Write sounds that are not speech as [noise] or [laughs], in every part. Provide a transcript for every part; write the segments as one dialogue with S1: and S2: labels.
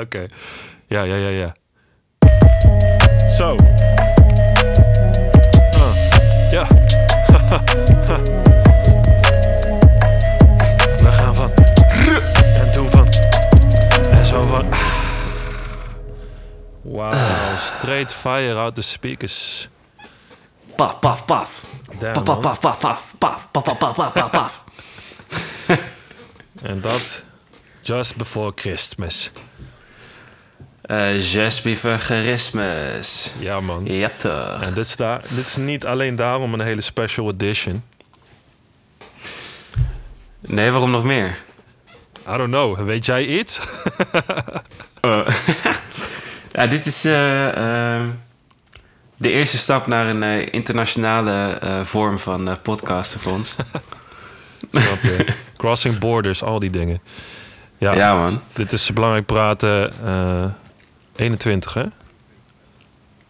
S1: oké. Ja, ja, ja, ja. Zo. Ah, Ja. [laughs] We gaan van. En toen van. En zo van. Wauw, straight fire out the speakers.
S2: Paf, paf, paf.
S1: Damn,
S2: Paf,
S1: man.
S2: paf, paf, paf, paf, paf, paf, paf, paf, paf, paf.
S1: En dat just before Christmas.
S2: Eh, Zes biever charismus.
S1: Ja, man.
S2: Ja toch.
S1: En dit is, daar, dit is niet alleen daarom een hele special edition.
S2: Nee, waarom nog meer?
S1: I don't know, weet jij iets?
S2: Eh, ja, dit is eh, eh, de eerste stap naar een eh, internationale eh, vorm van eh, podcasten voor ons.
S1: Snap je? [laughs] Crossing borders, al die dingen. Ja,
S2: Ja, man.
S1: dit is belangrijk praten. eh, 21, hè?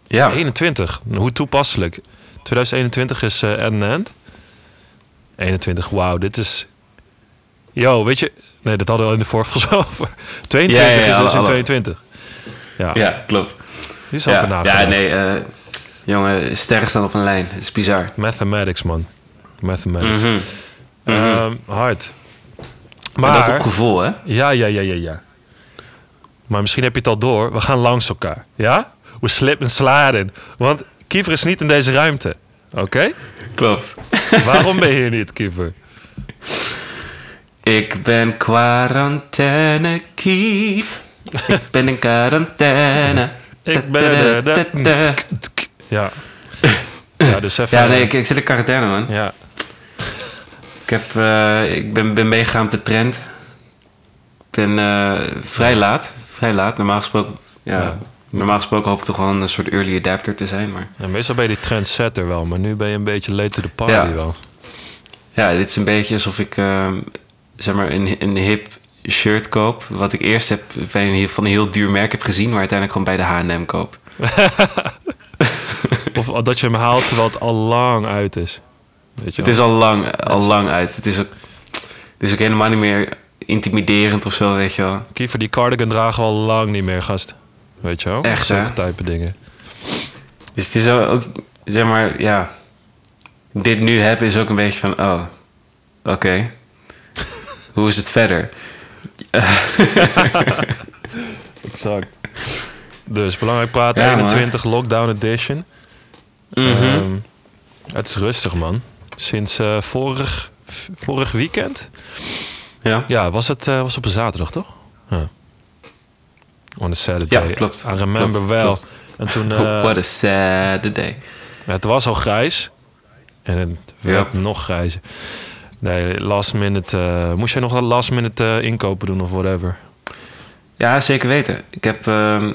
S2: Ja.
S1: 21, hoe toepasselijk. 2021 is eh en en. 21, wauw, dit is. Yo, weet je. Nee, dat hadden we al in de vorige zo over. 22
S2: Ja, ja, ja,
S1: is
S2: alle-
S1: dus in
S2: alle-
S1: 22. Ja,
S2: ja, klopt.
S1: die is al
S2: Ja,
S1: vanavond.
S2: ja nee. eh, jongen, sterren staan op een lijn. Het is bizar.
S1: Mathematics, man. Mathematics.
S2: Mhm.
S1: Ehm, hard.
S2: Maar
S1: Maar.
S2: dat op gevoel, hè?
S1: Ja, ja, ja, ja, ja. Maar misschien heb je het al door. We gaan langs elkaar. Ja? We slip en sladen. Want Kiefer is niet in deze ruimte. Oké?
S2: [laughs] Klopt.
S1: Waarom ben je hier niet, Kiefer?
S2: Ik ben quarantaine, Kief. Ik ben in quarantaine.
S1: Ik ben... eh, Ja. Ja, dus even...
S2: Ja, nee, ik, ik zit in quarantaine, man.
S1: Ja.
S2: Ik, heb, eh, ik ben, ben meegegaan op de trend. Ik ben eh, vrij laat. Vrij laat. Normaal gesproken, ja,
S1: Ja.
S2: normaal gesproken hoop ik toch wel een soort early adapter te zijn. Maar
S1: Ja, meestal ben je die trendsetter wel, maar nu ben je een beetje late to the party
S2: Ja.
S1: wel.
S2: ja, dit is een beetje alsof ik eh, zeg maar een, een hip shirt koop. Wat ik eerst heb bij een, heel- van een heel duur merk heb gezien, maar uiteindelijk gewoon bij de H&M koop.
S1: Of dat je hem haalt terwijl het al lang uit is. Weet je
S2: Het is al lang, al lang uit. Het is, ook, het is ook helemaal niet meer intimiderend of zo, weet je wel.
S1: Kiefer, die cardigan dragen we al lang niet meer, gast. Weet je wel?
S2: Echt, hè?
S1: Zulke type dingen.
S2: Dus het is ook, zeg maar, ja. Dit nu hebben is ook een beetje van, oh, oké. Hoe is het verder?
S1: Exact. Dus belangrijk praten,
S2: Ja, man. Mhm.
S1: 21 lockdown edition. Ehm, het is rustig, man. Sinds eh, vorig, vorig weekend.
S2: Ja.
S1: Ja, was het eh, was op een zaterdag, toch? Ja. On a Saturday.
S2: Ja, klopt.
S1: I remember
S2: Klopt,
S1: wel.
S2: klopt.
S1: En toen, eh,
S2: [laughs] What a Saturday.
S1: het was al grijs. En het werd nog grijzer. Nee, last minute. eh, moest jij nog dat last minute eh, inkopen doen of whatever? [laughs]
S2: Ja, zeker weten. Ik heb ehm,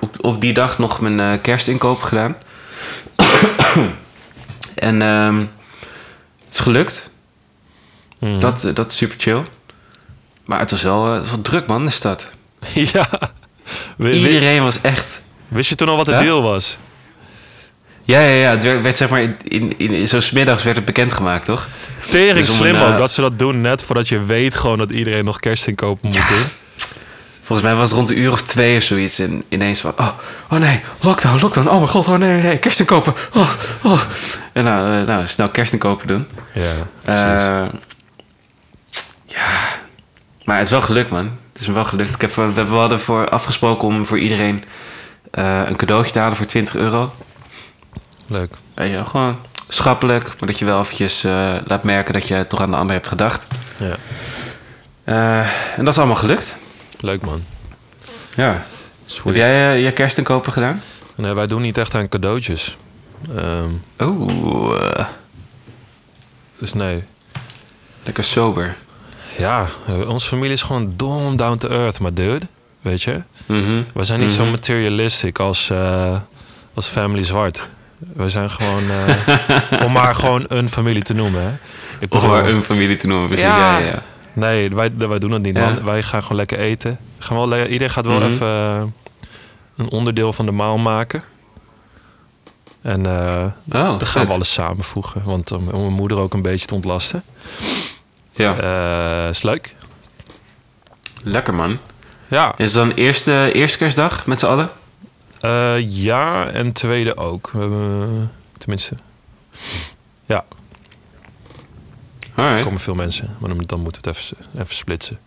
S2: op, op die dag nog mijn eh, kerstinkoop gedaan. [coughs] en ehm, het is gelukt.
S1: Mhm.
S2: Dat, eh, dat is super chill. Maar het was wel, eh, het was wel druk, man, de stad.
S1: ja. Wi- wi-
S2: Iedereen was echt
S1: Wist je toen al wat de
S2: Ja?
S1: deal was?
S2: Ja, ja, ja. Het werd, werd zeg maar in, in, in zo'n 's middags werd het bekendgemaakt, toch?
S1: Tering
S2: Dus om
S1: slim
S2: een,
S1: ook
S2: eh,
S1: dat ze dat doen net voordat je weet gewoon dat iedereen nog kerstinkopen moet doen.
S2: Volgens mij was het rond een uur of twee of zoiets. En ineens van, oh, oh nee, lockdown, lockdown. Oh mijn god, oh nee, nee, nee, kersten kopen. Oh, oh. En nou, eh, nou, snel kersten kopen doen.
S1: Ja, precies.
S2: Eh ja, maar het is wel gelukt, man. Het is me wel gelukt. Ik heb, voor- we hadden voor afgesproken om voor iedereen eh, een cadeautje te halen voor 20 euro.
S1: Leuk.
S2: Weet je wel, gewoon schappelijk, maar dat je wel eventjes eh, laat merken dat je toch aan de ander hebt gedacht.
S1: Ja.
S2: Eh, en dat is allemaal gelukt.
S1: Leuk man.
S2: Ja. Heb
S1: Sweet.
S2: jij eh, je kerstinkopen gedaan?
S1: Nee, wij doen niet echt aan cadeautjes. Ehm,
S2: Oeh, eh,
S1: dus nee.
S2: lekker sober.
S1: Ja, eh, onze familie is gewoon dom down to earth, maar dude. Weet je?
S2: Mhm.
S1: We zijn niet zo materialistic als, eh, als Family Zwart. We zijn gewoon...
S2: [laughs]
S1: eh, om maar gewoon een familie te noemen, hè. Ik
S2: Om
S1: bedoel-
S2: maar een familie te noemen, precies. Ja, ja, ja.
S1: Nee, wij, wij doen dat niet,
S2: Ja.
S1: man. Wij gaan gewoon lekker eten. Gaan wel, le- iedereen gaat wel
S2: Mhm.
S1: even eh, een onderdeel van de maal maken. En eh
S2: Oh,
S1: dan gaan we
S2: vet.
S1: alles samenvoegen. Want om, om mijn moeder ook een beetje te ontlasten.
S2: Ja,
S1: Eh is leuk.
S2: lekker man.
S1: Ja.
S2: Is het dan eerste, eerste kerstdag met z'n allen?
S1: Eh, ja, en tweede ook. We hebben, eh, tenminste, ja, er
S2: Alright,
S1: komen veel mensen. Maar dan- dan moeten we het even, even splitsen.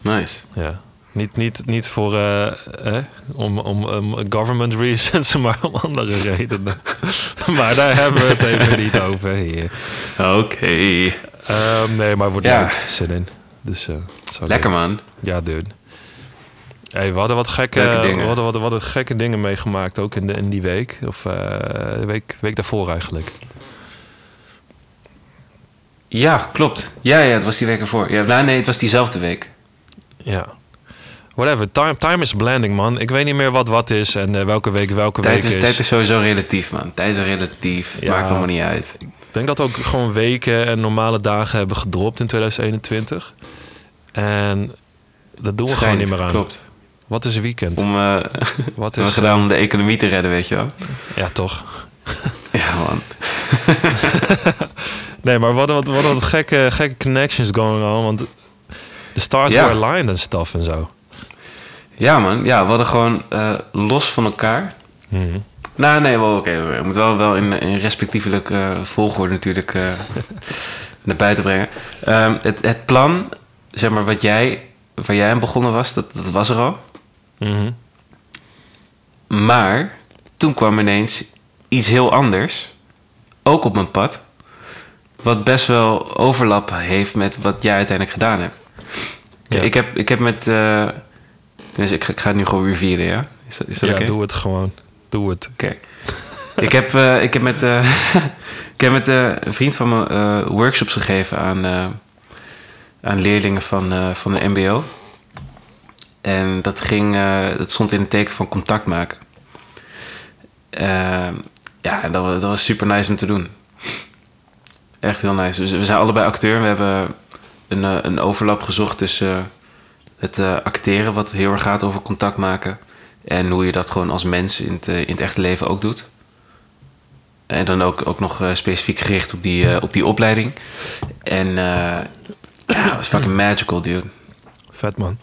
S2: nice.
S1: Ja. Niet, niet, niet voor eh, eh, om, om, om government reasons, [laughs] maar om andere redenen. [laughs] maar daar hebben we
S2: [laughs]
S1: het even niet over hier.
S2: Oké.
S1: Ehm, nee, maar het wordt
S2: Ja.
S1: leuk. Zin in. Dus, eh, het zou
S2: Lekker man.
S1: Ja, dude. Hey, we hadden wat gekke,
S2: Leuke dingen.
S1: we hadden, wat wat gekke dingen meegemaakt ook in, de, in die week. Of eh, de week, week daarvoor eigenlijk.
S2: Ja, klopt. Ja, ja, het was die week ervoor. Ja, nou, nee, het was diezelfde week.
S1: Ja. Whatever. Time, time is blending, man. Ik weet niet meer wat wat is en eh, welke week welke
S2: Tijd
S1: week
S2: is,
S1: is.
S2: tijd is sowieso relatief, man. Tijd is relatief.
S1: Ja.
S2: Maakt allemaal niet uit.
S1: Ik denk dat we ook gewoon weken en normale dagen hebben gedropt in 2021. En dat doen we gewoon
S2: Schijnt,
S1: niet meer aan.
S2: Klopt.
S1: Wat is een weekend?
S2: Om, eh, hebben
S1: Wat
S2: we
S1: is...
S2: gedaan [laughs] om de economie te redden, weet je wel.
S1: Ja, toch.
S2: Ja, man.
S1: Nee, maar wat wat, wat, wat gekke, gekke connections going on. Want de stars
S2: Ja.
S1: were aligned en stuff en zo.
S2: Ja, man. Ja, we hadden gewoon eh, los van elkaar. Nou, nee, wel oké. oké. We moeten wel, wel in, in respectievelijke eh, volgorde natuurlijk eh, naar buiten brengen. Ehm, het, het plan, zeg maar, wat jij, waar jij aan begonnen was, dat, dat was er al.
S1: Mhm.
S2: Maar toen kwam ineens iets heel anders, ook op mijn pad, wat best wel overlap heeft met wat jij uiteindelijk gedaan hebt.
S1: Ja.
S2: Ik, heb, ik heb met. eh, tenminste, ik, ga, ik ga het nu gewoon revealen, ja? Is dat, is dat
S1: ja,
S2: oké?
S1: doe het gewoon. Doe het.
S2: Oké. ik, heb, eh, ik heb met, eh, [laughs] ik heb met eh, een vriend van me eh, workshops gegeven aan, eh, aan leerlingen van, eh, van de MBO. En dat, ging, eh, dat stond in het teken van contact maken. Ehm, ja, en dat, wa- dat was super nice om te doen. Echt heel nice. Dus we zijn allebei acteur. We hebben een, eh, een overlap gezocht tussen eh, het eh, acteren, wat heel erg gaat over contact maken. En hoe je dat gewoon als mens in het, eh, in het echte leven ook doet. En dan ook, ook nog eh, specifiek gericht op die, eh, op die opleiding. En eh, ja, dat was fucking magical, dude.
S1: Vet man.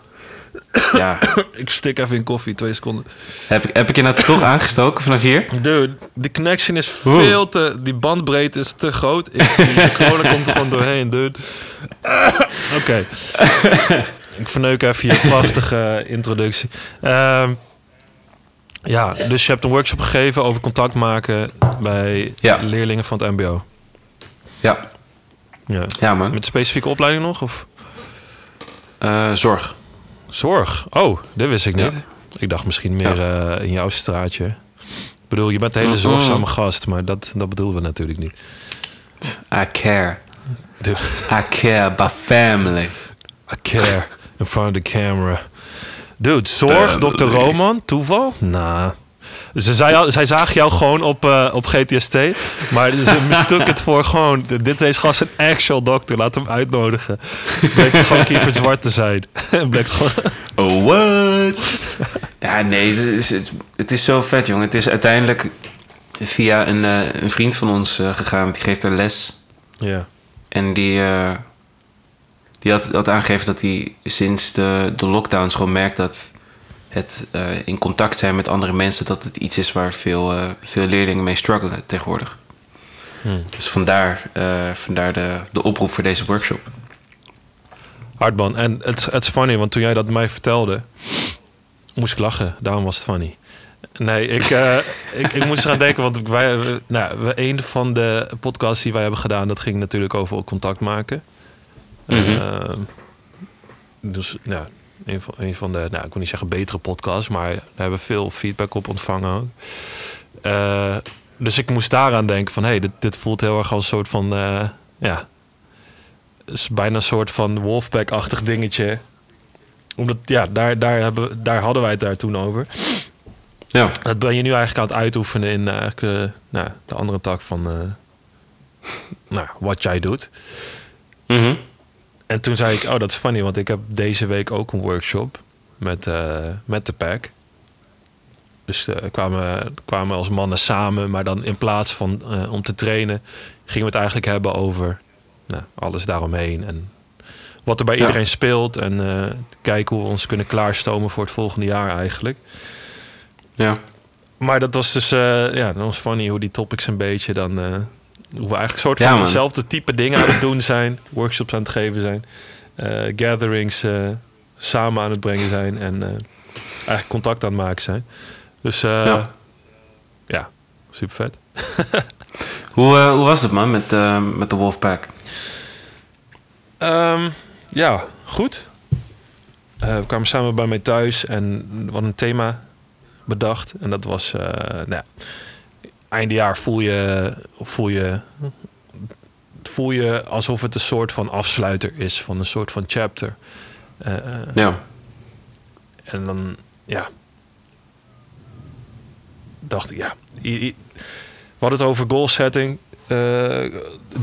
S2: Ja.
S1: Ik stik even in koffie, twee seconden.
S2: Heb ik, heb ik je nou toch aangestoken vanaf hier?
S1: Dude, de connection is
S2: Oeh.
S1: veel te... Die bandbreedte is te groot. Ik,
S2: [laughs]
S1: de corona komt er gewoon doorheen, dude. [laughs] Oké. Ik verneuk even
S2: [laughs]
S1: je prachtige introductie. Ehm, ja, dus je hebt een workshop gegeven over contact maken bij
S2: Ja.
S1: leerlingen van het mbo.
S2: Ja.
S1: Ja.
S2: Ja, man.
S1: Met specifieke opleiding nog? Of?
S2: Eh, zorg.
S1: Zorg. Oh, dat wist ik niet.
S2: Ja.
S1: Ik dacht misschien meer eh, in jouw straatje. Ik bedoel, je bent een hele
S2: Mhm.
S1: zorgzame gast, maar dat, dat bedoelen we natuurlijk niet.
S2: I care. [laughs]
S1: Dude.
S2: I care about family.
S1: I care in front of the camera. Dude, zorg,
S2: Family.
S1: dokter Roman, toeval? Nou. Ze zei al, zij zagen jou gewoon op, eh, op GTST, maar ze [laughs] mistook het voor gewoon... Dit deze gast een actual dokter, laat hem uitnodigen. Bleek het gewoon Kievert Zwart te zijn. [laughs] Bleek het gewoon...
S2: Oh, what? [laughs] ja, nee, het is, het, het is zo vet, jongen. Het is uiteindelijk via een, eh, een vriend van ons eh, gegaan. want Die geeft daar les.
S1: Ja.
S2: En die, eh, die had, had aangegeven dat hij sinds de, de lockdowns gewoon merkt dat het eh, in contact zijn met andere mensen... dat het iets is waar veel, eh, veel leerlingen mee struggelen tegenwoordig.
S1: Hmm.
S2: Dus vandaar, eh, vandaar de, de oproep voor deze workshop.
S1: Hardman. En het is- het is funny, want toen jij dat mij vertelde, moest ik lachen. Daarom was het funny. Nee, ik, eh, [laughs] ik, ik moest eraan denken, want wij, we- nou, we, een van de podcasts die wij hebben gedaan, dat ging natuurlijk over contact maken.
S2: Mhm.
S1: Ehm, dus nou, een, van, een van de, nou, ik wil niet zeggen betere podcasts, maar daar hebben we veel feedback op ontvangen ook. Eh, dus ik moest daaraan denken van, hé, hey, dit, dit voelt heel erg als een soort van, eh, ja, is bijna een soort van Wolfpack-achtig dingetje. Omdat, ja, daar, daar, hebben, we- daar hadden wij het daar toen over.
S2: Ja.
S1: Dat ben je nu eigenlijk aan het uitoefenen in eh, eigenlijk, eh, nou, de andere tak van eh, nou, wat jij doet.
S2: Mhm.
S1: En toen zei ik, oh, dat is funny, want ik heb deze week ook een workshop met, eh, met de pack. Dus eh, kwamen, kwamen als mannen samen, maar dan in plaats van eh, om te trainen, gingen we het eigenlijk hebben over nou, alles daaromheen en wat er bij
S2: Ja.
S1: iedereen speelt. En eh, kijken hoe we ons kunnen klaarstomen voor het volgende jaar eigenlijk.
S2: Ja.
S1: Maar dat was dus, eh, ja, dat was funny hoe die topics een beetje dan... eh, hoe we eigenlijk soort van
S2: Ja, man.
S1: hetzelfde type dingen aan het doen zijn. Workshops aan het geven zijn. eh, gatherings eh, samen aan het brengen zijn. En eh, eigenlijk contact aan het maken zijn. Dus eh,
S2: Ja.
S1: ja. super vet.
S2: Hoe, eh, hoe was het, man, met, eh, met de Wolfpack?
S1: Ehm, ja, goed. Eh, we kwamen samen bij mij thuis en we hadden een thema bedacht. En dat was, eh nou ja, eindejaar voel je, voel je, voel je alsof het een soort van afsluiter is van een soort van chapter. Eh, eh,
S2: Ja.
S1: en dan, ja. Dacht ik, ja. i- i- We hadden het over goal setting, eh,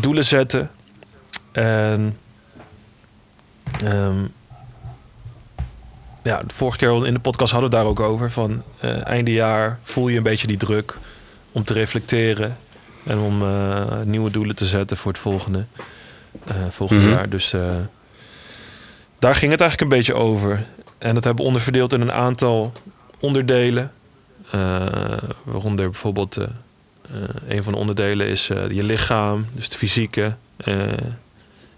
S1: doelen zetten. En. ehm, ja, de vorige keer in de podcast hadden we het daar ook over. Van eh einde jaar voel je een beetje die druk om te reflecteren. En om eh, nieuwe doelen te zetten voor het volgende, eh, volgend
S2: Mhm.
S1: jaar. Dus eh, daar ging het eigenlijk een beetje over. En dat hebben we onderverdeeld in een aantal onderdelen. Eh, waaronder bijvoorbeeld eh, eh, een van de onderdelen is eh, je lichaam, dus het fysieke. eh,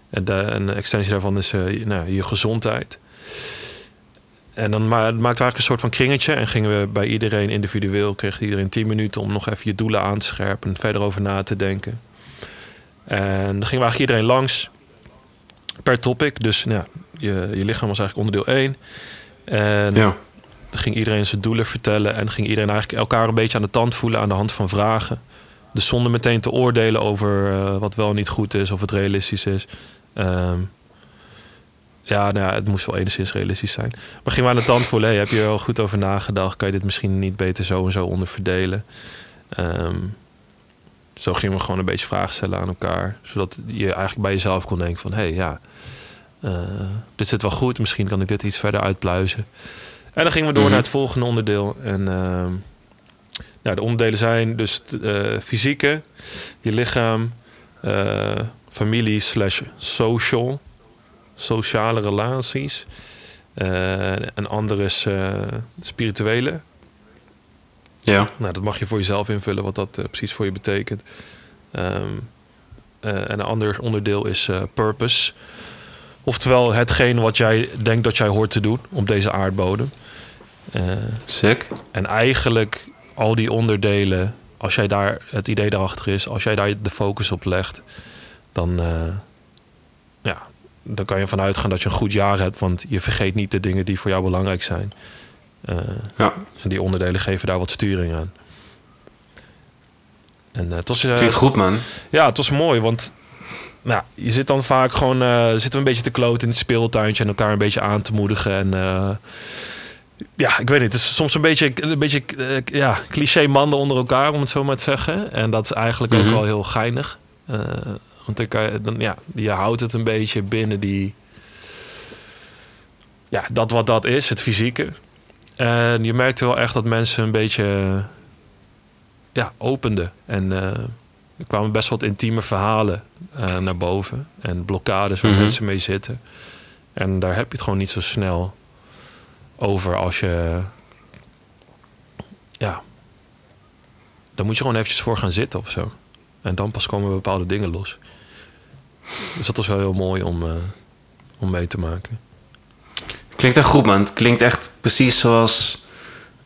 S1: en de, een extensie daarvan is eh, je- nou, je gezondheid. En dan ma maakten we eigenlijk een soort van kringetje. En gingen we bij iedereen individueel, kreeg iedereen 10 minuten om nog even je doelen aan te scherpen en verder over na te denken. En dan gingen we eigenlijk iedereen langs per topic. Dus nou, ja, je, je lichaam was eigenlijk onderdeel 1. En
S2: Ja.
S1: dan ging iedereen zijn doelen vertellen en ging iedereen eigenlijk elkaar een beetje aan de tand voelen aan de hand van vragen. Dus zonder meteen te oordelen over eh, wat wel en niet goed is, of het realistisch is. Ehm, ja, nou ja, het moest wel enigszins realistisch zijn. Maar ging maar aan de tand voelen, hey, heb je er wel goed over nagedacht? Kan je dit misschien niet beter zo en zo onderverdelen? Ehm, zo gingen we gewoon een beetje vragen stellen aan elkaar. Zodat je eigenlijk bij jezelf kon denken van... hé, hey, ja, eh, dit zit wel goed. Misschien kan ik dit iets verder uitpluizen. En dan gingen we door
S2: Mhm.
S1: naar het volgende onderdeel. En ehm, nou, de onderdelen zijn dus t- eh, fysieke, je lichaam, eh, familie slash social, sociale relaties. Eh, een ander is eh, spirituele.
S2: Ja.
S1: Nou, dat mag je voor jezelf invullen wat dat eh, precies voor je betekent. Ehm, eh, en een ander onderdeel is eh, purpose. Oftewel hetgeen wat jij denkt dat jij hoort te doen op deze aardbodem. Eh,
S2: Sick.
S1: en eigenlijk al die onderdelen, als jij daar het idee daarachter is, als jij daar de focus op legt, dan, eh, ja, dan kan je ervan uitgaan dat je een goed jaar hebt. Want je vergeet niet de dingen die voor jou belangrijk zijn. Eh,
S2: Ja.
S1: en die onderdelen geven daar wat sturing aan. En eh, het was, eh,
S2: Klinkt goed, man.
S1: ja, het was mooi, want nou, ja, je zit dan vaak gewoon eh, zitten we een beetje te kloten in het speeltuintje en elkaar een beetje aan te moedigen. En eh, ja, ik weet niet, het is soms een beetje, een beetje eh, ja, cliché mannen onder elkaar, om het zo maar te zeggen. En dat is eigenlijk
S2: Mhm.
S1: ook wel heel geinig. Eh, want dan kan je, dan, ja, je houdt het een beetje binnen die, ja, dat wat dat is, het fysieke. En je merkte wel echt dat mensen een beetje eh, ja, openden. En eh, er kwamen best wat intieme verhalen eh, naar boven. En blokkades waar
S2: Mhm.
S1: mensen mee zitten. En daar heb je het gewoon niet zo snel over als je... Ja. Daar moet je gewoon eventjes voor gaan zitten of zo. En dan pas komen bepaalde dingen los. Dus dat was wel heel mooi om, eh, om mee te maken.
S2: Klinkt echt goed, man. Het klinkt echt precies zoals.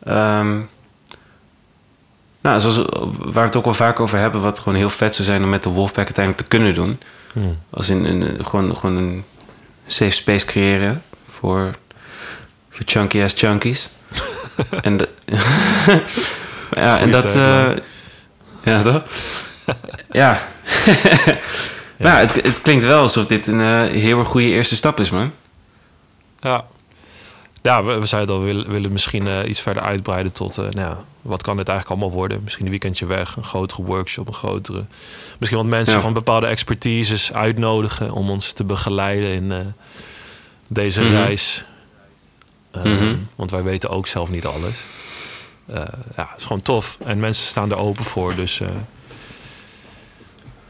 S2: ehm, nou, zoals waar we het ook wel vaak over hebben, wat gewoon heel vet zou zijn om met de Wolfpack uiteindelijk te kunnen doen.
S1: Hmm.
S2: Als in een, gewoon, gewoon een safe space creëren voor, voor chunky ass
S1: [laughs]
S2: chunkies. en de- [laughs] ja, en
S1: Goeie
S2: dat.
S1: tagline.
S2: eh, ja,
S1: [laughs]
S2: toch? ja. [laughs] Nou, het, het klinkt wel alsof dit een eh, heel erg goede eerste stap is, man.
S1: Ja. Ja, we, we zeiden al, we willen, willen misschien eh, iets verder uitbreiden tot, eh, nou ja, wat kan dit eigenlijk allemaal worden? Misschien een weekendje weg, een grotere workshop, een grotere. Misschien wat mensen
S2: Ja.
S1: van bepaalde expertises uitnodigen om ons te begeleiden in eh, deze
S2: Mhm.
S1: reis. Ehm,
S2: Mhm.
S1: Want wij weten ook zelf niet alles. Eh, ja, het is gewoon tof. En mensen staan er open voor. Dus eh,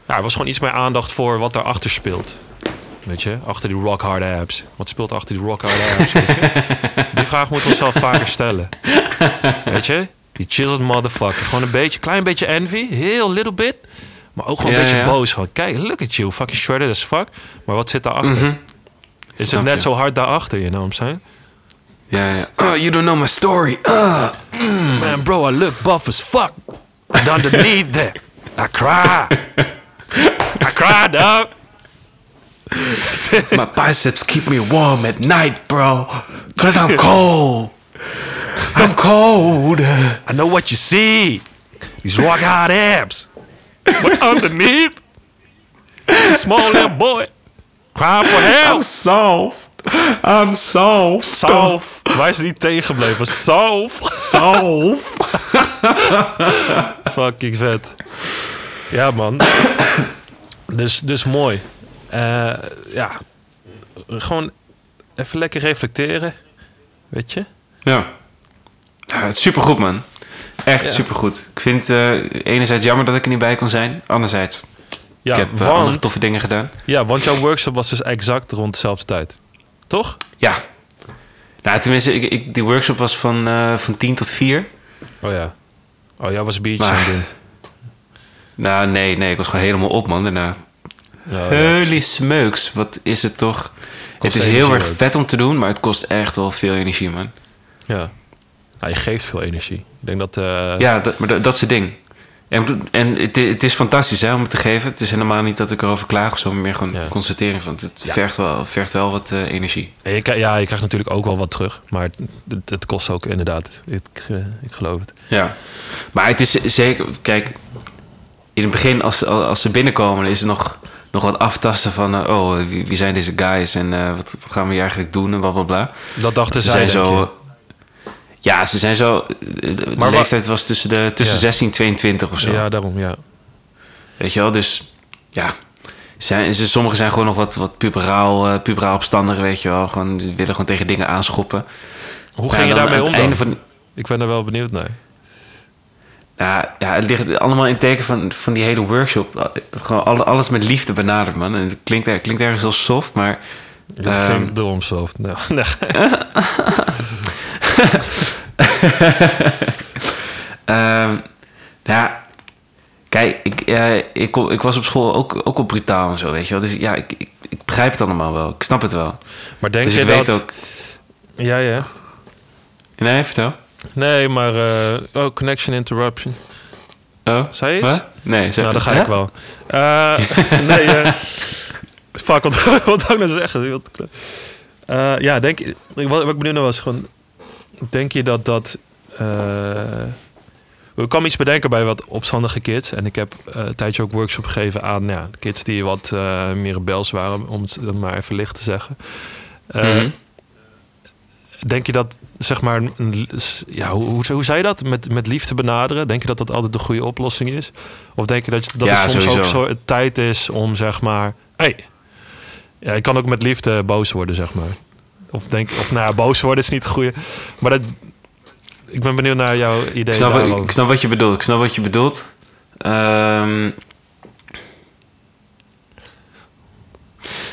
S1: ja, er was gewoon iets meer aandacht voor wat daarachter speelt. Weet je, achter die rock hard abs. Wat speelt achter die rock hard abs? Weet
S2: [laughs]
S1: je? Die vraag moeten we onszelf vaker stellen. Weet je, die chiseled motherfucker. Gewoon een beetje, klein beetje envy. Heel little bit. Maar ook gewoon een
S2: Ja,
S1: beetje
S2: ja.
S1: boos. Van, kijk, look at you. Fucking shredded as fuck. Maar wat zit daarachter? Is
S2: Mhm. Snap
S1: het net
S2: je.
S1: zo hard daarachter, je naam zijn?
S2: Ja, ja. Oh, you don't know my story. Ah.
S1: Man, bro, I look buff as fuck. And underneath that, I cry.
S2: [laughs]
S1: I cry, dog.
S2: My biceps keep me warm at night, bro. Cause I'm cold. I'm cold.
S1: I know what you see. These rock hard abs. But underneath, it's a small little boy crying for help.
S2: soft. I'm soft.
S1: Salf. Wij zijn niet tegenbleven. Salf.
S2: Soft.
S1: Fucking vet. Ja, man. Dus, dus mooi. Eh, ja. Gewoon even lekker reflecteren. Weet je?
S2: Ja. Ja, het is supergoed, man. Echt
S1: Ja.
S2: supergoed. Ik vind eh enerzijds jammer dat ik er niet bij kon zijn. Anderzijds,
S1: Ja,
S2: ik heb eh, andere
S1: want,
S2: toffe dingen gedaan.
S1: ja, want jouw workshop was dus exact rond dezelfde tijd. Toch?
S2: Ja. Nou, tenminste, ik, ik, die workshop was van, eh, van 10 tot 4.
S1: Oh ja. Oh, jij was biertjes
S2: Maar-
S1: aan het doen.
S2: Nou, nee, nee. Ik was gewoon helemaal op, man, daarna.
S1: Ja, ja.
S2: Holy smokes. Wat is het toch... het is
S1: energie
S2: heel erg
S1: ook.
S2: vet om te doen, maar het kost echt wel veel energie, man.
S1: Ja. Nou, je geeft veel energie. Ik denk dat... eh,
S2: Ja, dat, maar dat, dat is het ding. En, ik bedoel- en het, het is fantastisch hè, om het te geven. Het is helemaal niet dat ik erover klaag of zo, maar meer gewoon
S1: Ja.
S2: constatering van. Het vergt, wel, vergt wel wat eh, energie.
S1: je, kri- ja, je krijgt natuurlijk ook wel wat terug. Maar het, het- het kost ook inderdaad. Ik, eh, ik geloof het.
S2: Ja. Maar het is zeker, kijk, in het begin als, als ze binnenkomen, dan is het nog, nog wat aftasten van, eh, oh, wie, wie zijn deze guys en eh, wat, wat gaan we hier eigenlijk doen en blablabla. Bla, bla.
S1: Dat dachten
S2: Ze
S1: zij,
S2: zijn
S1: denk
S2: zo.
S1: je.
S2: eh, Ja, ze zijn zo. eh, De
S1: Maar wa-
S2: leeftijd was tussen, de, tussen
S1: Ja.
S2: 16 en 22 of zo.
S1: Ja, daarom, ja.
S2: Weet je wel, dus ja. Zijn, ze, sommigen zijn gewoon nog wat, wat puberaal, eh, puberaal opstandig, weet je wel. Gewoon, die willen gewoon tegen dingen aanschoppen.
S1: Hoe
S2: Ja,
S1: ging je
S2: dan
S1: daarmee
S2: aan
S1: om dan?
S2: het einde van-
S1: Ik ben er wel benieuwd naar.
S2: Ja, ja, het ligt allemaal in het teken van, van die hele workshop. Gewoon alle- alles met liefde benaderd, man. En het klinkt, er- klinkt ergens heel soft, maar...
S1: Dat
S2: ehm,
S1: klinkt dom, soft. [laughs] Nou, nee.
S2: Ehm, ja, kijk, ik, eh, ik, kon- ik was op school ook, ook al brutaal en zo, weet je wel. Dus ja, ik, ik, ik begrijp het allemaal wel. Ik snap het wel.
S1: Maar denk
S2: dus
S1: je
S2: ik weet
S1: dat...
S2: ook...
S1: Ja, ja.
S2: Nee, vertel.
S1: Nee, maar... eh, oh, connection interruption.
S2: Oh,
S1: Zei je iets?
S2: wat? Nee, zeg
S1: Nou, dan ga
S2: Hè?
S1: ik wel. Eh, [laughs] nee, eh, fuck, wat, [laughs] wat zou ik nou zeggen? Wat- Eh, ja, denk je- ik, wat, wat ik benieuwd naar was, gewoon, denk je dat dat... eh, ik kan me iets bedenken bij wat opstandige kids. En ik heb eh, een tijdje ook workshop gegeven aan ja, kids die wat eh, meer rebels waren, om het maar even licht te zeggen. Eh,
S2: Mhm.
S1: Denk je dat, zeg maar, een- een- ja, hoe, hoe, hoe zei je dat? Met, met liefde benaderen? Denk je dat dat altijd de goede oplossing is? Of denk je dat, je- dat
S2: Ja,
S1: er soms ook
S2: sowieso.
S1: zo, tijd is om, zeg maar, hey, ja, je kan ook met liefde boos worden, zeg maar. Of denk, of nou, ja, boos worden is niet het goede. Maar dat, ik ben benieuwd naar jouw idee.
S2: Ik snap, wat,
S1: daarover.
S2: ik snap wat je bedoelt. Ik snap wat je bedoelt. Ehm,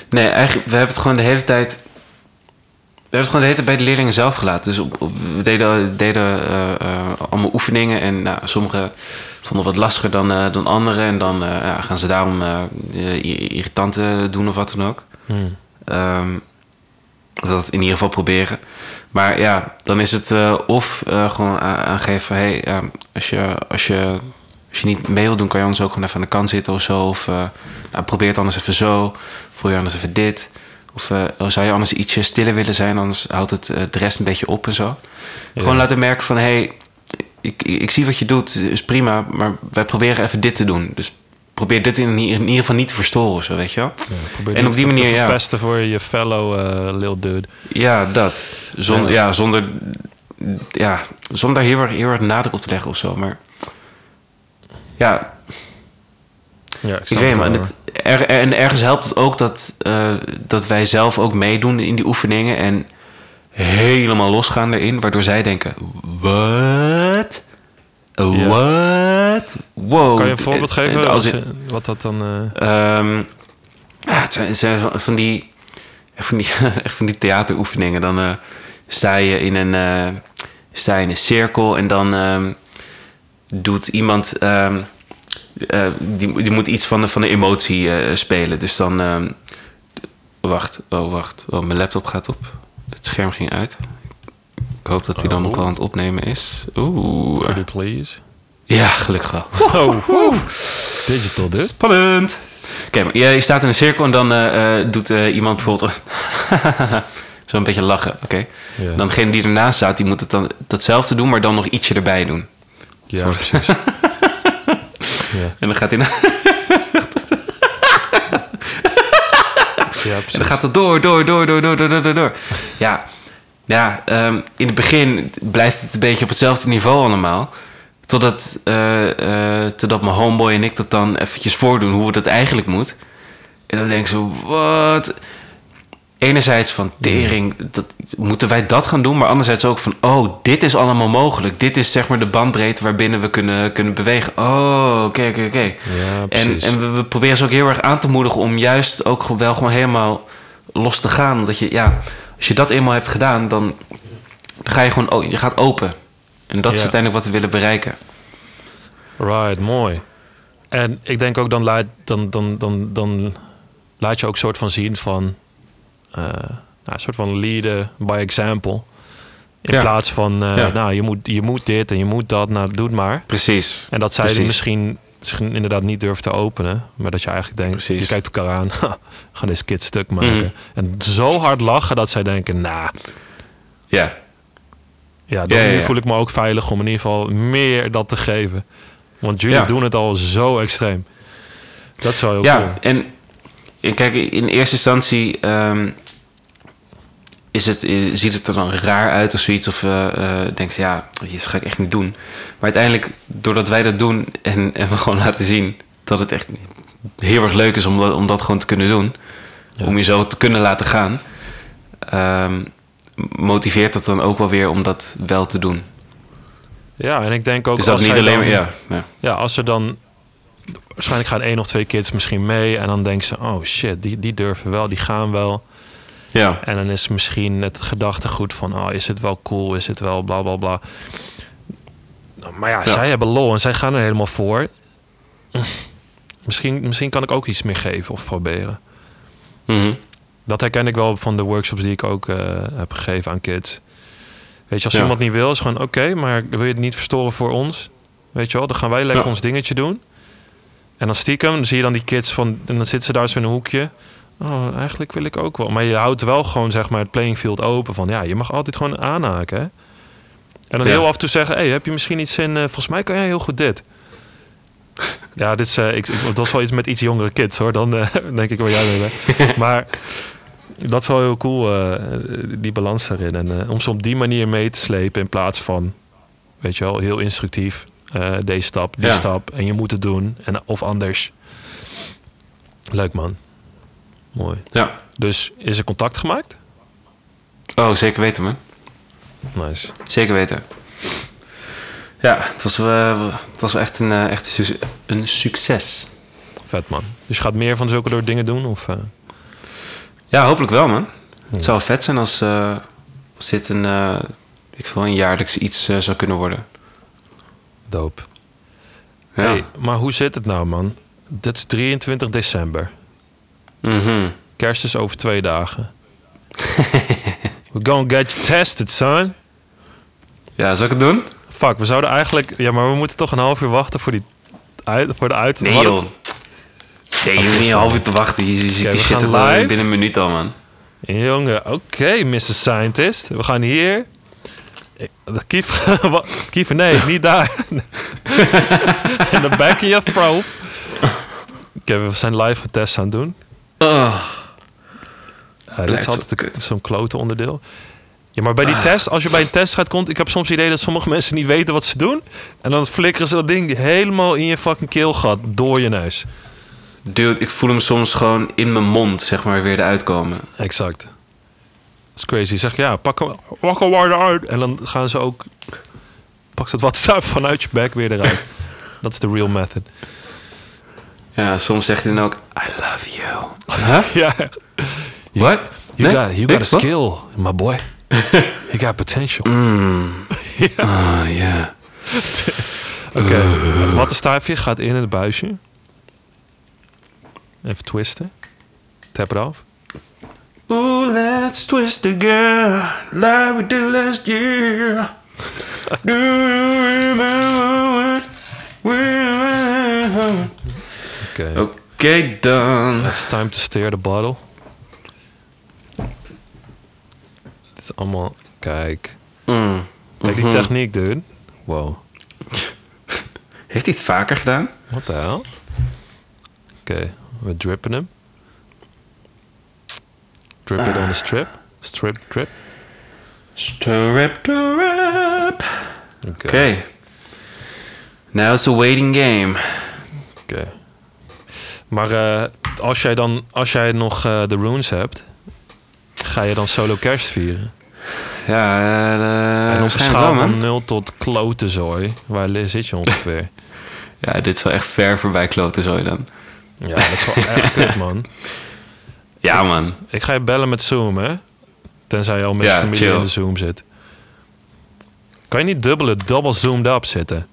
S2: nee, eigenlijk, we hebben het gewoon de hele tijd. We hebben het gewoon de hele tijd bij de leerlingen zelf gelaten. Dus op, op- we deden, deden eh, eh, allemaal oefeningen. En nou, sommigen vonden het wat lastiger dan, eh, dan anderen. En dan eh, ja, gaan ze daarom eh, eh, i- irritant eh, doen of wat dan ook.
S1: Hmm.
S2: Ehm, of dat in ieder geval proberen. Maar ja, dan is het eh, of eh, gewoon a- aangeven van... Hey, ehm, als, je, als, je, als je niet mee wilt doen, kan je anders ook gewoon even aan de kant zitten of zo. Of eh, nou, probeer het anders even zo. Voel je anders even dit. Of eh, zou je anders ietsje stiller willen zijn, anders houdt het eh, de rest een beetje op en zo. Gewoon laten merken van... Hey, ik, ik, ik zie wat je doet, is prima, maar wij proberen even dit te doen. Dus probeer dit in, in ieder geval niet te verstoren of zo, weet je wel?
S1: Ja, probeer
S2: En
S1: niet
S2: op die
S1: te
S2: manier, ja.
S1: verpesten voor je fellow eh lil dude.
S2: Ja, dat. Zonder, ja. zonder, ja, zonder daar heel erg, heel erg nadruk op te leggen of zo. Maar ja,
S1: Ja, ik,
S2: ik
S1: snap
S2: weet
S1: het
S2: maar.
S1: wel,
S2: Het, er, er- en ergens helpt het ook dat, eh, dat wij zelf ook meedoen in die oefeningen. En helemaal losgaan erin. Waardoor zij denken, wat?
S1: Ja.
S2: Wat? Wow.
S1: hoor. Kan je een voorbeeld
S2: En
S1: geven
S2: als
S1: als,
S2: in-
S1: wat dat dan... eh,
S2: Ehm, Ja, het zijn, het zijn van die, echt van die, [laughs] echt van die theateroefeningen. Dan eh, sta, je in een, eh, sta je in een cirkel en dan ehm, doet iemand... ehm, eh, die, die moet iets van de, van de emotie eh, spelen. Dus dan... ehm, wacht, oh wacht. Oh, mijn laptop gaat op. Het scherm ging uit. Ik hoop dat hij dan
S1: Oh.
S2: nog wel aan het opnemen is. Oeh.
S1: Pretty please.
S2: Ja, gelukkig wel.
S1: Oh, woe. Digital dus.
S2: Spannend. Oké, maar je, je staat in een cirkel en dan eh, eh, doet eh, iemand bijvoorbeeld [laughs] zo'n beetje lachen. Oké.
S1: Ja.
S2: Dan degene die ernaast staat, die moet het dan datzelfde doen, maar dan nog ietsje erbij doen.
S1: Ja, [laughs] precies. ja.
S2: En dan gaat hij na-
S1: ja,
S2: [laughs] en
S1: precies.
S2: dan gaat het door, door, door, door, door, door, door, door, door. Ja, ja ehm, in het begin blijft het een beetje op hetzelfde niveau allemaal. Totdat, eh, eh, totdat mijn homeboy en ik dat dan eventjes voordoen hoe we dat eigenlijk moet. En dan denk ik zo, wat? Enerzijds van tering, dat, moeten wij dat gaan doen? Maar anderzijds ook van, oh, dit is allemaal mogelijk. Dit is zeg maar de bandbreedte waarbinnen we kunnen, kunnen bewegen. Oh, oké, oké, oké.
S1: Ja,
S2: En,
S1: precies.
S2: en we, we proberen ze ook heel erg aan te moedigen om juist ook gewoon- wel gewoon helemaal los te gaan. Omdat je, ja, als je dat eenmaal hebt gedaan, dan ga je gewoon, o- je gaat open. En dat is
S1: Ja.
S2: uiteindelijk wat we willen bereiken.
S1: Right, mooi. En ik denk ook dan laat, dan, dan, dan, dan laat je ook soort van zien van... eh, nou, een soort van leaden by example. In
S2: Ja.
S1: plaats van, eh,
S2: Ja.
S1: nou, je moet, je moet dit en je moet dat. Nou, doe het maar.
S2: Precies.
S1: En dat zij die
S2: Precies.
S1: misschien, misschien inderdaad niet durft te openen. Maar dat je eigenlijk denkt,
S2: Precies.
S1: je kijkt elkaar aan. [laughs] "Ha, we gaan deze kid stuk maken. En zo hard lachen dat zij denken, nou...
S2: Ja.
S1: Ja, dan
S2: Ja, ja,
S1: nu
S2: ja.
S1: voel ik me ook veilig om in ieder geval meer dat te geven. Want jullie
S2: Ja.
S1: doen het al zo extreem. Dat zou heel
S2: Ja,
S1: cool.
S2: en, en kijk, in eerste instantie ehm, is het, eh, ziet het er dan raar uit of zoiets. Of eh eh, denk je, ja, dat ga ik echt niet doen. Maar uiteindelijk, doordat wij dat doen en, en we gewoon laten zien dat het echt heel erg leuk is om dat, om dat gewoon te kunnen doen.
S1: Ja.
S2: Om je zo te kunnen laten gaan. ehm, motiveert dat dan ook wel weer om dat wel te doen.
S1: Ja, en ik denk ook
S2: Dus dat
S1: als
S2: niet
S1: zij
S2: alleen maar...
S1: dan-
S2: Ja, ja.
S1: ja, als er dan... Waarschijnlijk gaan één of twee kids misschien mee. En dan denken ze, oh shit, die, die durven wel, die gaan wel.
S2: ja.
S1: En dan is misschien het gedachtegoed van... Oh, is het wel cool, is het wel bla bla bla. Nou, Maar ja,
S2: Ja.
S1: zij hebben lol en zij gaan er helemaal voor. misschien, misschien kan ik ook iets meer geven of proberen.
S2: Mhm.
S1: Dat herken ik wel van de workshops die ik ook eh, heb gegeven aan kids. Weet je, als
S2: Ja.
S1: iemand niet wil, is gewoon oké, maar wil je het niet verstoren voor ons? Weet je wel, dan gaan wij lekker
S2: Ja.
S1: ons dingetje doen. En dan stiekem dan zie je dan die kids van, en dan zitten ze daar zo in een hoekje. Oh, eigenlijk wil ik ook wel. Maar je houdt wel gewoon zeg maar het playing field open van, ja, je mag altijd gewoon aanhaken. Hè? En dan
S2: Ja.
S1: heel af en toe zeggen, hey, heb je misschien iets in? eh, volgens mij kan jij heel goed
S2: [laughs]
S1: dit. Ja, dit is, eh, ik, ik- dat was wel iets met iets jongere kids hoor. Dan eh, [laughs] denk ik wel jij mee bent. Maar dat is wel heel cool, eh, die balans daarin. En eh, om ze op die manier mee te slepen in plaats van, weet je wel, heel instructief. eh, deze stap, die
S2: Ja.
S1: stap. En je moet het doen. En, of anders. Leuk man. Mooi.
S2: ja.
S1: Dus is er contact gemaakt?
S2: Oh, zeker weten, man.
S1: Nice.
S2: Zeker weten. Ja, het was, wel- het was wel echt een, eh, echt een, suc- een succes.
S1: Vet man. Dus je gaat meer van zulke door dingen doen? Of, eh?
S2: Ja, hopelijk wel, man. Het zou vet zijn als, eh, als dit een, eh, ik wil een jaarlijks iets eh, zou kunnen worden.
S1: Doop.
S2: Ja.
S1: Hey, maar hoe zit het nou, man? Dit is 23 december.
S2: Mhm.
S1: Kerst is over twee dagen. We gonna get you tested, son.
S2: ja, zal ik het doen?
S1: Fuck, we zouden eigenlijk... Ja, maar we moeten toch een half uur wachten voor, die, uit- voor de uit.
S2: Nee,
S1: Wat-
S2: joh. Nee, je hoeft niet een half uur te wachten. Je, je ziet
S1: Oké,
S2: die
S1: we
S2: shit
S1: gaan
S2: er wel
S1: live.
S2: binnen een minuut al, man.
S1: Jongen, oké, Mr. Scientist. We gaan hier... Ik- Kief, [laughs] wat- Kiefer,
S2: [laughs]
S1: nee, niet daar. [laughs] In de back of your throat. Oké, we zijn live tests aan het doen. Eh, dit is
S2: Blijft
S1: altijd
S2: Ah. wel
S1: een-
S2: kut. Ah.
S1: zo'n klote onderdeel. Ja, maar bij die test, als je bij een test gaat, komt... Ik heb soms het idee dat sommige mensen niet weten wat ze doen. En dan flikkeren ze dat ding helemaal in je fucking keelgat, door je neus.
S2: Dude, ik voel hem soms gewoon in mijn mond, zeg maar, weer eruit komen.
S1: Exact. Dat is crazy. Zeg ja, pak hem, pak hem maar eruit. En dan gaan ze ook... Pak dat WhatsApp vanuit je bek weer [laughs] eruit. dat is de real method.
S2: Ja, soms zegt hij dan ook, I love you. Huh?
S1: ja.
S2: What?
S1: You,
S2: Nee?
S1: got, you
S2: Ik?
S1: got a
S2: Wat? Mm.
S1: skill, my
S2: [laughs]
S1: boy. you got potential.
S2: Ah, ja.
S1: Oké, het wattenstaafje gaat in het buisje. Even twisten. Tap eraf.
S2: Ooh, let's twist again, like we did last year. Do you remember when we
S1: Oké,
S2: were- Oké dan.
S1: it's time to steer the bottle. Het is allemaal... Kijk.
S2: Mm.
S1: Kijk die techniek, dude. Wow.
S2: Heeft hij het vaker gedaan?
S1: What the hell? Oké, we drippen hem. Drip it on the strip. Strip, drip.
S2: Strip to rap.
S1: Oké.
S2: Oké. Now it's a waiting game.
S1: Oké. Maar eh, als jij dan, als jij nog eh, de runes hebt, ga je dan solo kerst vieren?
S2: Ja,
S1: en
S2: eh
S1: op een
S2: waarschijnlijk
S1: schaal
S2: wel, man.
S1: van 0 tot klotenzooi, waar li- zit je
S2: [laughs]
S1: ongeveer?
S2: Ja, dit is wel echt ver voorbij kloten zo dan.
S1: ja, dat is wel echt kut, man.
S2: Ja, man.
S1: Ik ga je bellen met Zoom, hè? Tenzij je al met
S2: Ja,
S1: je familie
S2: chill.
S1: in de Zoom zit. Kan je niet dubbele, double zoomed up zitten?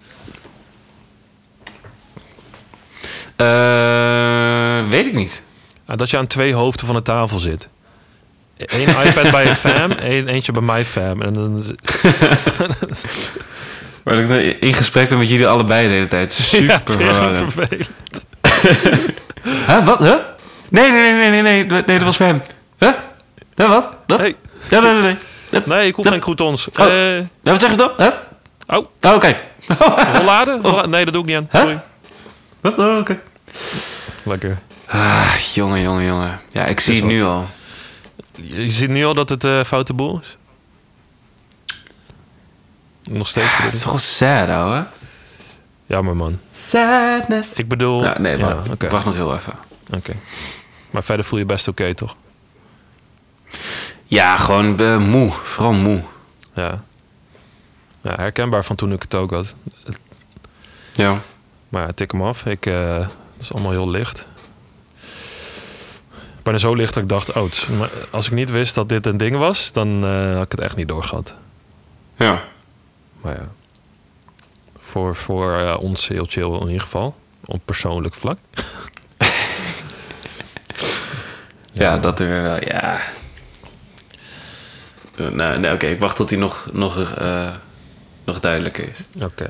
S2: Eh, weet ik niet.
S1: Ah, Dat je aan twee hoofden van de tafel zit.
S2: [laughs]
S1: Eén iPad bij je fam, één, eentje bij mijn fam. En dan
S2: Maar dat ik in gesprek ben met jullie allebei de hele tijd. Super
S1: [laughs] ja, het is echt
S2: verwarrend. [laughs]
S1: vervelend.
S2: Huh? Wat? Huh? Nee, nee, nee, nee, nee, nee. Nee, dat was voor hem. Huh? Huh, wat? Dat?
S1: Hey.
S2: Ja, nee, nee, nee.
S1: Nee, ik hoef geen croutons.
S2: Oh.
S1: Eh,
S2: Ja, wat zeg je dan? Huh?
S1: Oh.
S2: Oh, oké. Oh.
S1: rollade? Rolla- Nee, dat doe ik niet aan.
S2: Huh?
S1: Sorry.
S2: Wat? Oh, oké.
S1: Lekker.
S2: Ah, jongen, jongen, jongen. Ja, ik zie
S1: Is
S2: het nu al.
S1: Je ziet nu al dat het eh foute boel is? Nog steeds.
S2: Het is toch wel sad, ouwe.
S1: Jammer, man.
S2: Sadness.
S1: Ik bedoel...
S2: Ja, nee, wacht.
S1: Ja, Oké.
S2: Wacht nog heel even.
S1: Oké. Maar verder voel je best oké, toch?
S2: Ja, gewoon eh, moe. Vooral moe.
S1: Ja. ja. Herkenbaar van toen ik het ook had.
S2: Ja.
S1: Maar ja, tik hem af. Ik, eh, het is allemaal heel licht. Bijna zo licht dat ik dacht... Oh, het is- maar als ik niet wist dat dit een ding was... dan eh, had ik het echt niet doorgehad.
S2: Ja.
S1: Maar ja. Voor, voor eh, ons heel chill in ieder geval. Op persoonlijk vlak.
S2: Ja, dat er wel, ja. Eh, Nou, nee, oké, ik wacht tot hij nog, nog, eh, nog duidelijker is.
S1: Oké.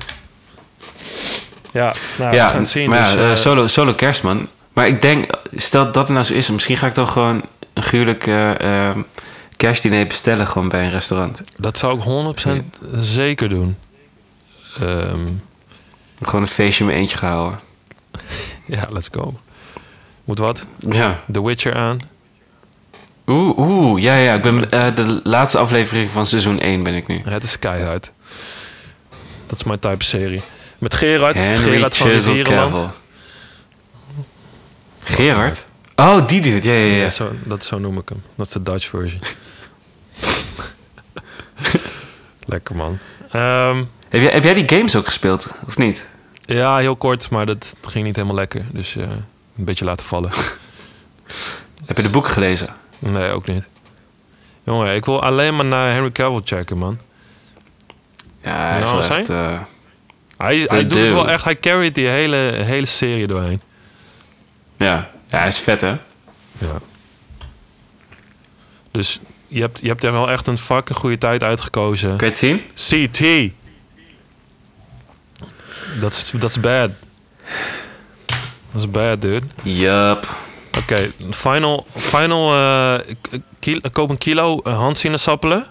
S1: Ja, nou, we gaan het zien.
S2: maar
S1: dus,
S2: ja, eh,
S1: eh,
S2: solo, solo kerstman. Maar ik denk, stel dat het nou zo is, misschien ga ik dan gewoon een gruwelijk eh, eh, kerstdiner bestellen gewoon bij een restaurant.
S1: dat zou ik 100% zeker doen. Ehm,
S2: Gewoon een feestje in mijn eentje gehouden.
S1: ja, let's go. Moet wat?
S2: Ja.
S1: The Witcher aan.
S2: Oeh, oeh, ja, ja. Ik ben, eh, de laatste aflevering van seizoen 1 ben ik nu.
S1: Het is keihard. Dat is mijn type serie. Met Gerard.
S2: Henry
S1: Gerard van
S2: Chisel
S1: Rivierenland.
S2: Cavill. Gerard? Oh, die dude, ja, ja, ja.
S1: Ja, zo, dat, zo noem ik hem. Dat is de Dutch
S2: [laughs]
S1: version. Lekker man. Ehm,
S2: Heb jij, heb jij die games ook gespeeld, of niet?
S1: ja, heel kort, maar dat ging niet helemaal lekker. Dus eh, een beetje laten vallen. [laughs]
S2: Heb je de boeken gelezen?
S1: Nee, ook niet. Jongen, ik wil alleen maar naar Henry Cavill checken, man.
S2: Ja, hij is
S1: Nou,
S2: wel
S1: zijn?
S2: echt... eh,
S1: Hij, hij doet het
S2: dude.
S1: wel echt. Hij carried die hele, hele serie doorheen.
S2: ja. ja, hij is vet, hè?
S1: Ja. Dus je hebt, je hebt er wel echt een fucking goede tijd uitgekozen.
S2: Kun je het zien?
S1: CT. Dat is, dat is bad. Dat is bad, dude.
S2: Yup.
S1: Oké, final. final eh, k- kil- koop een kilo eh, handsinaasappelen.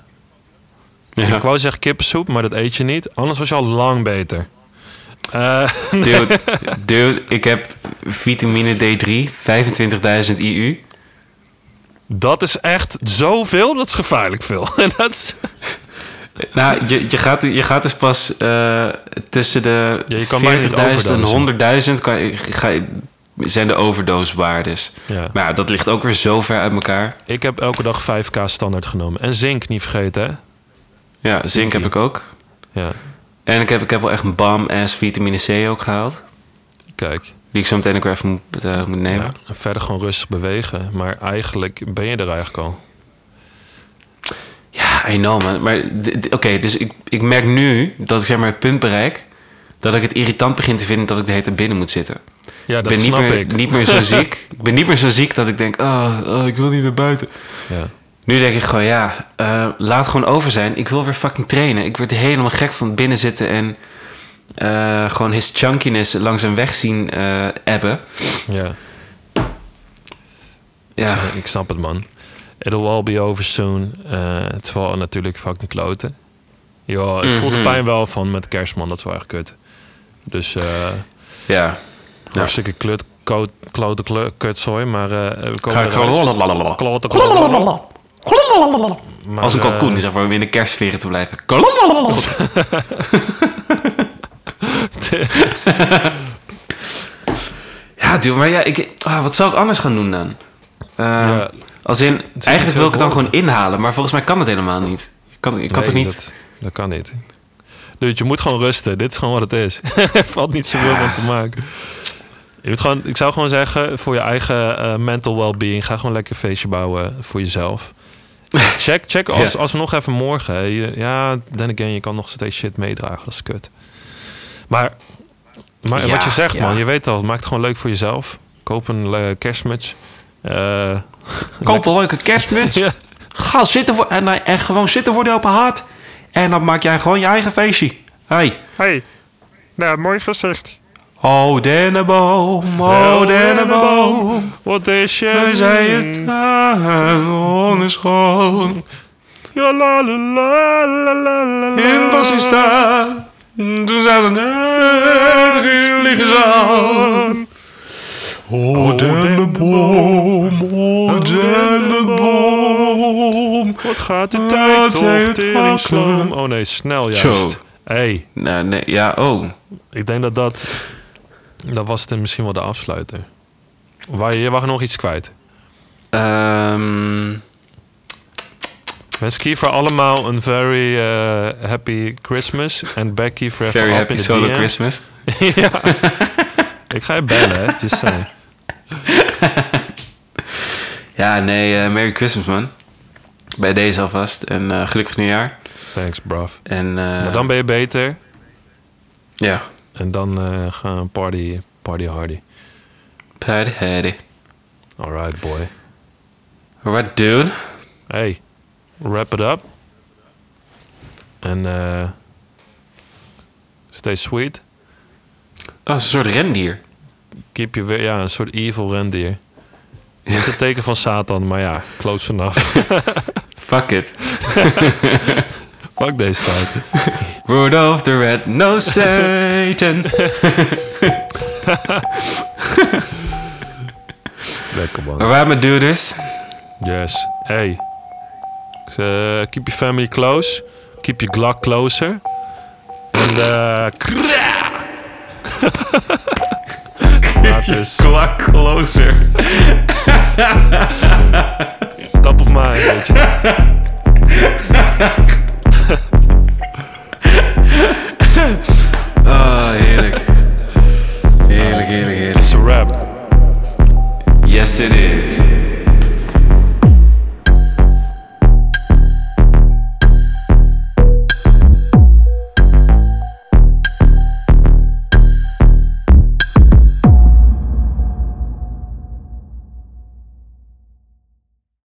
S1: Dus Ik
S2: Ja.
S1: wou zeggen kippensoep, maar dat eet je niet. Anders was je al lang beter. Eh, [laughs]
S2: Dude, dude, ik heb vitamine D3, 25.000 IU.
S1: dat is echt zoveel, dat is gevaarlijk veel. [laughs] En dat is,
S2: Nou, je, je, gaat, je gaat dus pas eh, tussen de
S1: Ja, je kan bijna niet
S2: 40.000 en 100.000 kan, je- ga, je- zijn de overdoswaardes.
S1: ja.
S2: Maar ja, dat ligt ook weer zo ver uit elkaar.
S1: Ik heb elke dag 5k standaard genomen. En zink niet vergeten, hè?
S2: Ja, zink heb ik ook.
S1: Ja,
S2: En ik heb, ik heb wel echt een bam-ass vitamine C ook gehaald.
S1: kijk.
S2: Die ik zo meteen ook weer even moet, eh, moet nemen.
S1: Ja, en verder gewoon rustig bewegen. Maar eigenlijk ben je er eigenlijk al.
S2: Ja, I know, man. Maar d- d- oké, dus ik, ik merk nu dat ik zeg maar het punt bereik... dat ik het irritant begin te vinden dat ik de hele tijd binnen moet zitten.
S1: Ja,
S2: Ik
S1: dat
S2: ben niet
S1: snap
S2: meer,
S1: ik.
S2: niet meer
S1: [laughs]
S2: zo ziek. ik ben niet meer zo ziek dat ik denk... ah, ah, ik wil niet naar buiten.
S1: Ja.
S2: Nu denk ik gewoon, ja, eh, laat gewoon over zijn. Ik wil weer fucking trainen. Ik word helemaal gek van binnen zitten en... eh, gewoon his chunkiness langzaam weg zien eh ebben.
S1: Ja.
S2: Ja.
S1: Ik snap het, man. It'll all be over soon. Eh, het is wel natuurlijk fucking kloten. Joh, ik voel de
S2: Mhm.
S1: pijn wel van met kerstman. Dat is wel echt kut. Dus eh
S2: Ja. Ja.
S1: hartstikke klut, koot, klote, kle- kutzooi. Maar eh, we komen
S2: Ga ik gewoon...
S1: eruit.
S2: lalalala.
S1: Klote, klote.
S2: Klalalalala. Klalalalala.
S1: Maar,
S2: Als een
S1: eh,
S2: kalkoen is, voor om in de kerstveren te blijven. Klalalalala. [laughs] ja, dude, maar ja, ik, ah, wat zou ik anders gaan doen dan? Eh,
S1: ja,
S2: als in,
S1: niet
S2: eigenlijk wil ik het dan
S1: zoveel.
S2: gewoon inhalen, maar volgens mij kan het helemaal niet. Je kan, je kan
S1: nee,
S2: toch niet...
S1: Dat, dat kan niet. Dude, je moet gewoon rusten. Dit is gewoon wat het is. [laughs] er valt niet zoveel van te maken. Je moet gewoon, ik zou gewoon zeggen, voor je eigen eh, mental well-being... ga gewoon lekker een feestje bouwen voor
S2: [laughs]
S1: jezelf. Check, check als,
S2: Ja.
S1: als nog even morgen. hè. Je- ja, then again, je kan nog steeds shit meedragen. Dat is kut. Maar, maar
S2: Ja,
S1: wat je zegt,
S2: ja.
S1: man. Je weet al, maak het gewoon leuk voor jezelf. Koop een eh, kerstmuts. Eh, [laughs]
S2: Koop een leuke kerstmuts.
S1: Ja.
S2: Ga zitten voor, en, eh, en gewoon zitten voor de open haard. En dan maak jij gewoon je eigen feestje. Hey.
S3: Hey, nou, mooi gezicht.
S2: Oh, dennenboom, oh, dennenboom.
S1: Wat is je?
S2: We zijn het aan ongeschoon.
S3: Ja, la, la, la, la, la, la, la.
S2: In Bassista, toen zaten er in Liegezaan. O dennenboom, o dennenboom.
S1: Wat gaat de
S2: Wat
S1: tijd
S2: zei
S3: eh,
S2: het
S1: toch, tering sloom?
S2: wakker?
S1: Oh nee, snel juist.
S2: Zo.
S1: hey,
S2: Nou, nee, ja, oh.
S1: ik denk dat dat... Dat was het misschien wel de afsluiter. Waar je, je mag nog iets kwijt.
S2: Ehm,
S1: Wens Kiefer allemaal een very eh, happy Christmas. En back Kiefer even
S2: very
S1: up
S2: happy
S1: in the
S2: solo
S1: DM.
S2: Christmas.
S1: [laughs] ja. Ik ga je bellen, hè. Just saying.
S2: Ja, nee, eh, Merry Christmas, man. Bij deze alvast. En eh, gelukkig nieuwjaar.
S1: Thanks, bruv.
S2: En, eh,
S1: Maar dan ben je beter.
S2: Ja.
S1: En dan eh, gaan we party, party hardy.
S2: Party, party.
S1: Alright, boy.
S2: What, dude?
S1: Hey, wrap it up. En eh stay sweet.
S2: Oh, het is een soort rendier.
S1: Keep je weer, ja, een soort evil [laughs] rendier. Dat is het teken van Satan, maar ja, close vanaf.
S2: Fuck it.
S1: [laughs] Fuck deze tijd.
S2: Rudolph the Red No Satan.
S1: Lekker man.
S2: Alright, my dudes.
S1: Yes. Hey. Eh, keep your family close. Keep your Glock closer. En eh... kraa! Laters.
S2: Glock
S1: [laughs]
S2: closer.
S1: Top of mind, weet je.
S2: Oh,